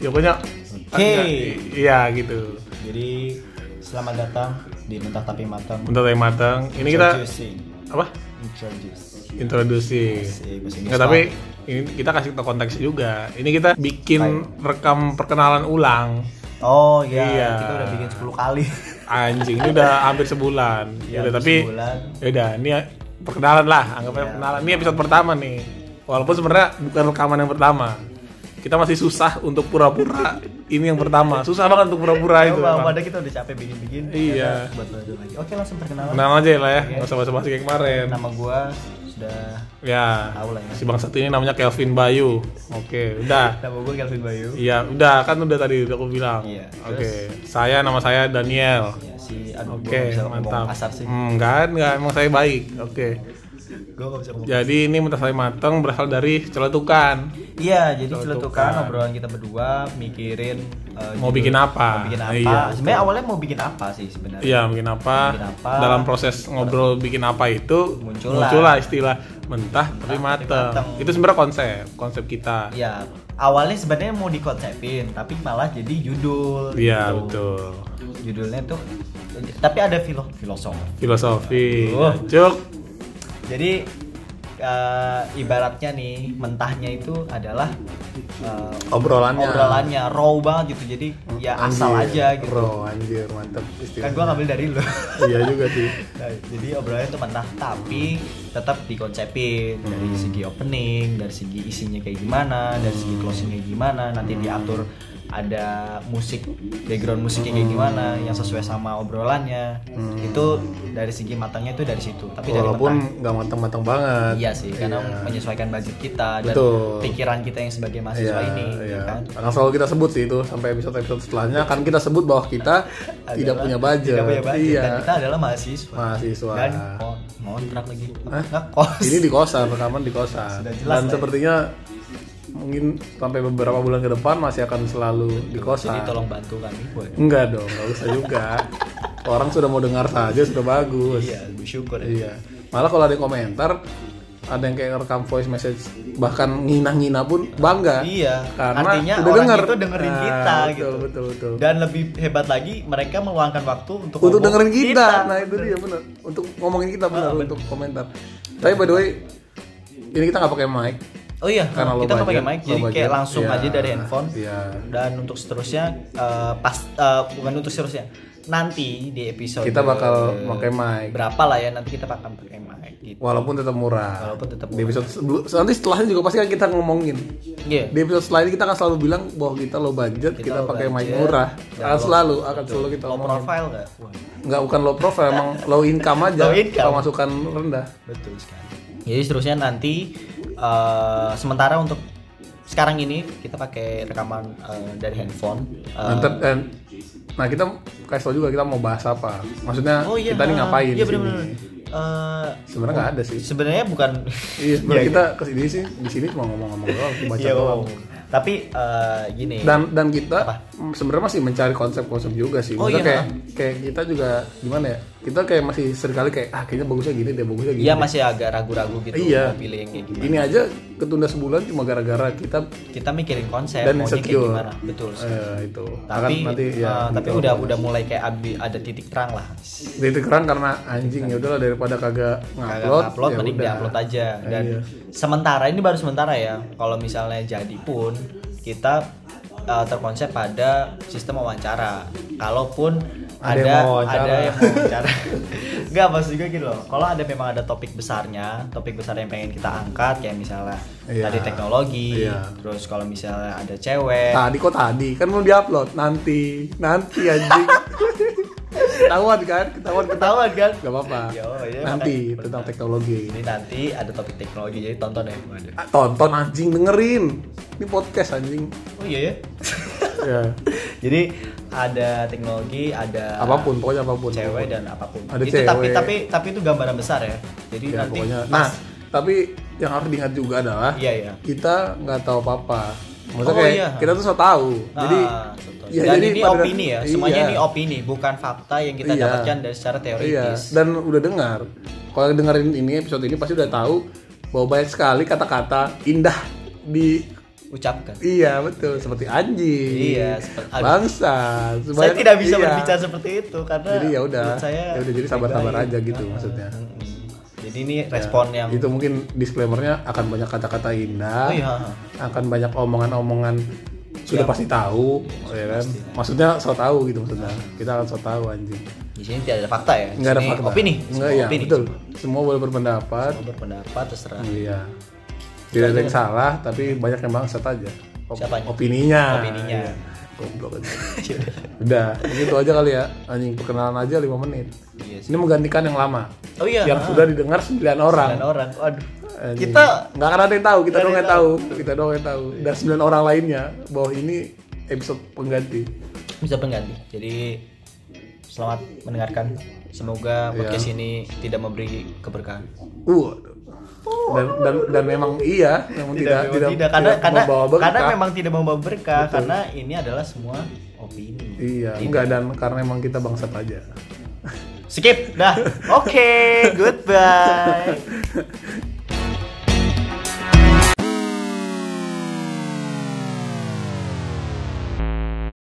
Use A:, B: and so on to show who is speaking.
A: Ya, pokoknya
B: Oke.
A: iya gitu
B: Jadi selamat datang di Mentah Tapi Matang.
A: untuk yang matang ini kita
B: Introducing.
A: apa
B: Introduce.
A: introduksi
B: Asik, bahasa Inggris
A: nggak tapi ini kita kasih tau konteks juga ini kita bikin rekam perkenalan ulang
B: banget. Oh iya,
A: Iya.
B: kita udah bikin 10 kali.
A: anjing ini udah hampir sebulan
B: Iya,
A: ya,
B: hampir
A: tapi
B: sebulan.
A: ya udah ini perkenalan lah anggapnya
B: Iya.
A: perkenalan ini episode pertama nih walaupun sebenarnya bukan rekaman yang pertama kita masih susah untuk pura-pura ini yang pertama susah banget untuk pura-pura Ah, itu
B: Coba
A: emang.
B: pada kita udah capek bikin-bikin.
A: Iya.
B: ternyata Buat lanjut lagi. Oke, langsung perkenalan.
A: kenalan aja lah ya nggak usah basa-basi kayak kemarin
B: Nama gua sudah
A: ya
B: Tahu lah ya.
A: si bang satu ini namanya Kelvin Bayu oke udah
B: nama gua Kelvin Bayu.
A: Iya, udah kan udah tadi udah aku bilang.
B: Iya,
A: Oke, saya nama saya Daniel.
B: Ya, si aduh gua
A: Oke,
B: gak bisa ngomong
A: mantap.
B: kasar sih.
A: Hmm, kan enggak emang saya baik. Oke.
B: Gua gak bisa ngomong.
A: Jadi ini mentah saya mateng berasal dari celetukan.
B: Iya, jadi
A: Celetukan.
B: celetukan obrolan kita berdua mikirin eh,
A: Mau
B: judul-
A: bikin apa?
B: Mau bikin apa?
A: Iya,
B: sebenarnya awalnya mau bikin apa sih sebenarnya?
A: Iya, bikin apa?
B: Bikin apa?
A: Dalam proses ngobrol bikin apa itu
B: Muncullah.
A: muncullah istilah mentah tapi
B: tapi
A: mateng.
B: mateng.
A: Itu sebenarnya konsep, konsep kita.
B: Iya, awalnya sebenarnya mau dikonsepin, tapi malah jadi judul.
A: Iya,
B: gitu.
A: betul.
B: Judulnya tuh tapi ada filo filosofi.
A: Filosofi.
B: Oh.
A: Cuk.
B: Jadi eh, ibaratnya nih mentahnya itu adalah eh,
A: Obrolannya.
B: obrolannya raw banget gitu. Jadi ya asal
A: Anjir,
B: aja gitu.
A: Bro, anjir, mantep
B: Kan
A: istilah.
B: gua ngambil dari lu.
A: iya juga sih.
B: Nah, jadi obrolannya itu mentah tapi tetap dikonsepin dari
A: Hmm.
B: segi opening, dari segi isinya kayak gimana, dari segi
A: Hmm.
B: closingnya gimana, nanti diatur ada musik background musiknya kayak gimana
A: Hmm.
B: yang sesuai sama obrolannya itu dari segi matangnya itu dari situ tapi dari mentah
A: Walaupun nggak matang-matang banget.
B: iya sih karena
A: Iya.
B: menyesuaikan budget kita dan
A: Betul.
B: pikiran kita yang sebagai mahasiswa ini ya
A: iya.
B: kan
A: Karena selalu kita sebut sih itu sampai episode-episode setelahnya kan kita sebut bahwa kita tidak
B: Adalah-
A: punya budget.
B: tidak punya budget kan.
A: Iya.
B: dan kita adalah mahasiswa
A: Mahasiswa.
B: dan kon- kontrak lagi
A: Hah?
B: nggak kos
A: Ini di kosan, rekaman di kosan.
B: Sudah jelas
A: Dan
B: lah ya.
A: sepertinya mungkin sampai beberapa bulan ke depan masih akan selalu di kosan.
B: Jadi tolong bantu kami buat.
A: Enggak dong, nggak usah juga. Orang sudah mau dengar saja sudah bagus.
B: Iya, bersyukur.
A: Iya. Malah kalau ada yang komentar ada yang kayak rekam voice message bahkan ngina-ngina pun bangga.
B: Iya.
A: Karena
B: Artinya
A: udah
B: orang
A: denger.
B: itu dengerin
A: Nah,
B: kita
A: betul,
B: gitu.
A: betul, betul.
B: Dan lebih hebat lagi mereka meluangkan waktu untuk
A: untuk
B: ngomong
A: dengerin kita. Nah, itu dia benar. Untuk ngomongin kita
B: Ah,
A: benar untuk komentar. Tapi by the way ini kita nggak pakai mic
B: Oh iya,
A: karena lo
B: kita nggak pakai
A: budget,
B: mic jadi
A: lo
B: kayak
A: budget.
B: langsung
A: Iya,
B: aja dari handphone.
A: iya.
B: Dan untuk seterusnya eh, pas eh, bukan untuk seterusnya. Nanti di episode
A: Kita bakal pakai mic.
B: Berapa lah ya nanti kita akan pakai mic gitu.
A: walaupun tetap murah.
B: Walaupun tetap
A: Di episode sebelum nanti setelahnya juga pasti kan kita ngomongin.
B: Iya.
A: Di episode selanjutnya kita akan selalu bilang bahwa kita low budget, kita,
B: low
A: pakai mic
B: budget,
A: murah.
B: dan
A: Akan
B: low-
A: selalu akan selalu kita
B: Low
A: ngomongin.
B: profile nggak? Wah,
A: Nggak bukan low profile, emang low income aja.
B: Low income.
A: Pemasukan rendah.
B: Betul sekali. Jadi seterusnya nanti eh, sementara untuk sekarang ini kita pakai rekaman eh, dari handphone. Eh,
A: Nah, ntar- dan- nah kita kasih tau juga kita mau bahas apa. Maksudnya kita nih ngapain
B: Iya
A: di sini?
B: benar-benar. Eh,
A: Sebenarnya nggak ada sih.
B: sebenarnya bukan
A: Iya, sebenarnya kita kesini sih di sini cuma ngomong-ngomong doang, baca
B: gitu. Iya,
A: doang.
B: ngomong. Tapi eh, gini.
A: Dan dan kita
B: Apa?
A: mm, sebenarnya masih mencari konsep-konsep juga sih.
B: Oh,
A: Maksudnya kayak
B: iya,
A: kayak kita juga gimana ya? Kita kayak masih seringkali kayak ah kayaknya bagusnya gini deh, bagusnya gini.
B: Iya
A: deh."
B: masih agak ragu-ragu gitu
A: Iya.
B: mau pilih yang kayak gimana.
A: Ini aja ketunda sebulan cuma gara-gara kita
B: Kita mikirin konsep
A: dan
B: maunya kayak
A: insecure.
B: gimana. Betul. sekali.
A: Eh, itu. Akan
B: Tapi
A: nanti ya.
B: eh, tapi
A: gitu.
B: udah udah mulai kayak abdi- ada titik terang lah.
A: titik terang karena anjing ya udahlah daripada kagak ngupload
B: upload, upload
A: ya
B: mending
A: udah.
B: upload aja dan
A: Iya.
B: sementara ini baru sementara ya kalau misalnya jadi pun kita uh, terkonsep pada sistem wawancara kalaupun
A: Ada
B: ada
A: yang mau wawancara.
B: ada yang mau wawancara nggak maksud gue gitu loh kalau ada memang ada topik besarnya topik besar yang pengen kita angkat kayak misalnya
A: Iya.
B: tadi teknologi
A: Iya.
B: terus kalau misalnya ada cewek
A: Tadi kok tadi kan mau diupload nanti nanti anjing. ketahuan kan? Ketahuan ketahuan.
B: ketahuan kan
A: Gak apa-apa.
B: Yo, iya,
A: nanti tentang teknologi.
B: ini nanti ada topik teknologi jadi tonton ya Waduh.
A: Ah, Tonton anjing dengerin. Ini podcast anjing.
B: oh iya ya
A: ya.
B: jadi ada teknologi ada
A: Apapun pokoknya apapun.
B: cewek dan apapun
A: Ada
B: itu tapi
A: cewek.
B: tapi tapi itu gambaran besar ya jadi
A: Ya,
B: nanti
A: pokoknya.
B: pas
A: Nah, tapi yang harus diingat juga adalah
B: iya iya
A: kita nggak tahu apa-apa. Maksudnya
B: Oh,
A: kayak
B: iya.
A: kita tuh so tahu. jadi
B: Ah, contoh.
A: ya,
B: dan
A: jadi
B: ini
A: pada-
B: opini ya semuanya
A: iya.
B: ini opini bukan fakta yang kita
A: Iya.
B: dapatkan dari secara teoritis
A: Iya, dan udah dengar. Kalau yang dengerin ini episode ini pasti udah tahu bahwa banyak sekali kata-kata indah di
B: ucapkan.
A: Iya betul seperti anjing.
B: Iya, seperti- aduh.
A: bangsa.
B: Saya
A: sebanyak-
B: tidak bisa
A: iya.
B: berbicara seperti itu karena
A: Jadi ya udah.
B: menurut saya
A: Ya udah, jadi sabar-sabar
B: baik-baik.
A: aja gitu
B: Heeh.
A: maksudnya.
B: ah,
A: Ya, gitu.
B: Jadi ini respon yang
A: itu mungkin disclaimernya akan banyak kata-kata indah,
B: Oh, iya.
A: akan banyak omongan-omongan sudah pasti tahu, ya kan? Maksudnya so tahu gitu maksudnya. Kita akan so tahu anjing.
B: di sini tidak ada fakta ya. Di
A: Enggak ada
B: sini
A: fakta.
B: Opini.
A: Nggak,
B: Semua
A: iya,
B: opini.
A: betul. Semua boleh berpendapat.
B: Semua berpendapat terserah.
A: Iya. Tidak ada yang salah, tapi banyak yang bangsat aja. Op-
B: Siapanya?
A: Opininya.
B: Opininya.
A: Iya. Goblok aja.
B: Ya udah.
A: Udah, gitu aja kali ya. Anjing perkenalan aja 5 menit.
B: Iya sih.
A: Ini menggantikan yang lama.
B: Oh iya.
A: Yang sudah didengar 9 orang.
B: Sembilan orang. Waduh.
A: Anjing.
B: Kita
A: nggak akan ada yang tahu, kita
B: Nggak
A: doang
B: ada
A: yang
B: yang
A: tahu. Kita doang yang tahu. Dan 9 orang lainnya bahwa ini episode pengganti.
B: bisa pengganti. Jadi selamat mendengarkan.
A: Iya.
B: Semoga podcast ini tidak memberi keberkahan.
A: Uh. Dan, dan dan memang iya, memang tidak
B: memang
A: tidak,
B: karena
A: tidak
B: karena
A: membawa berkah.
B: karena memang tidak membawa berkah karena ini adalah semua opini.
A: Iya,
B: Tidak.
A: enggak dan karena emang kita bangsat aja.
B: Skip dah. Oke, goodbye.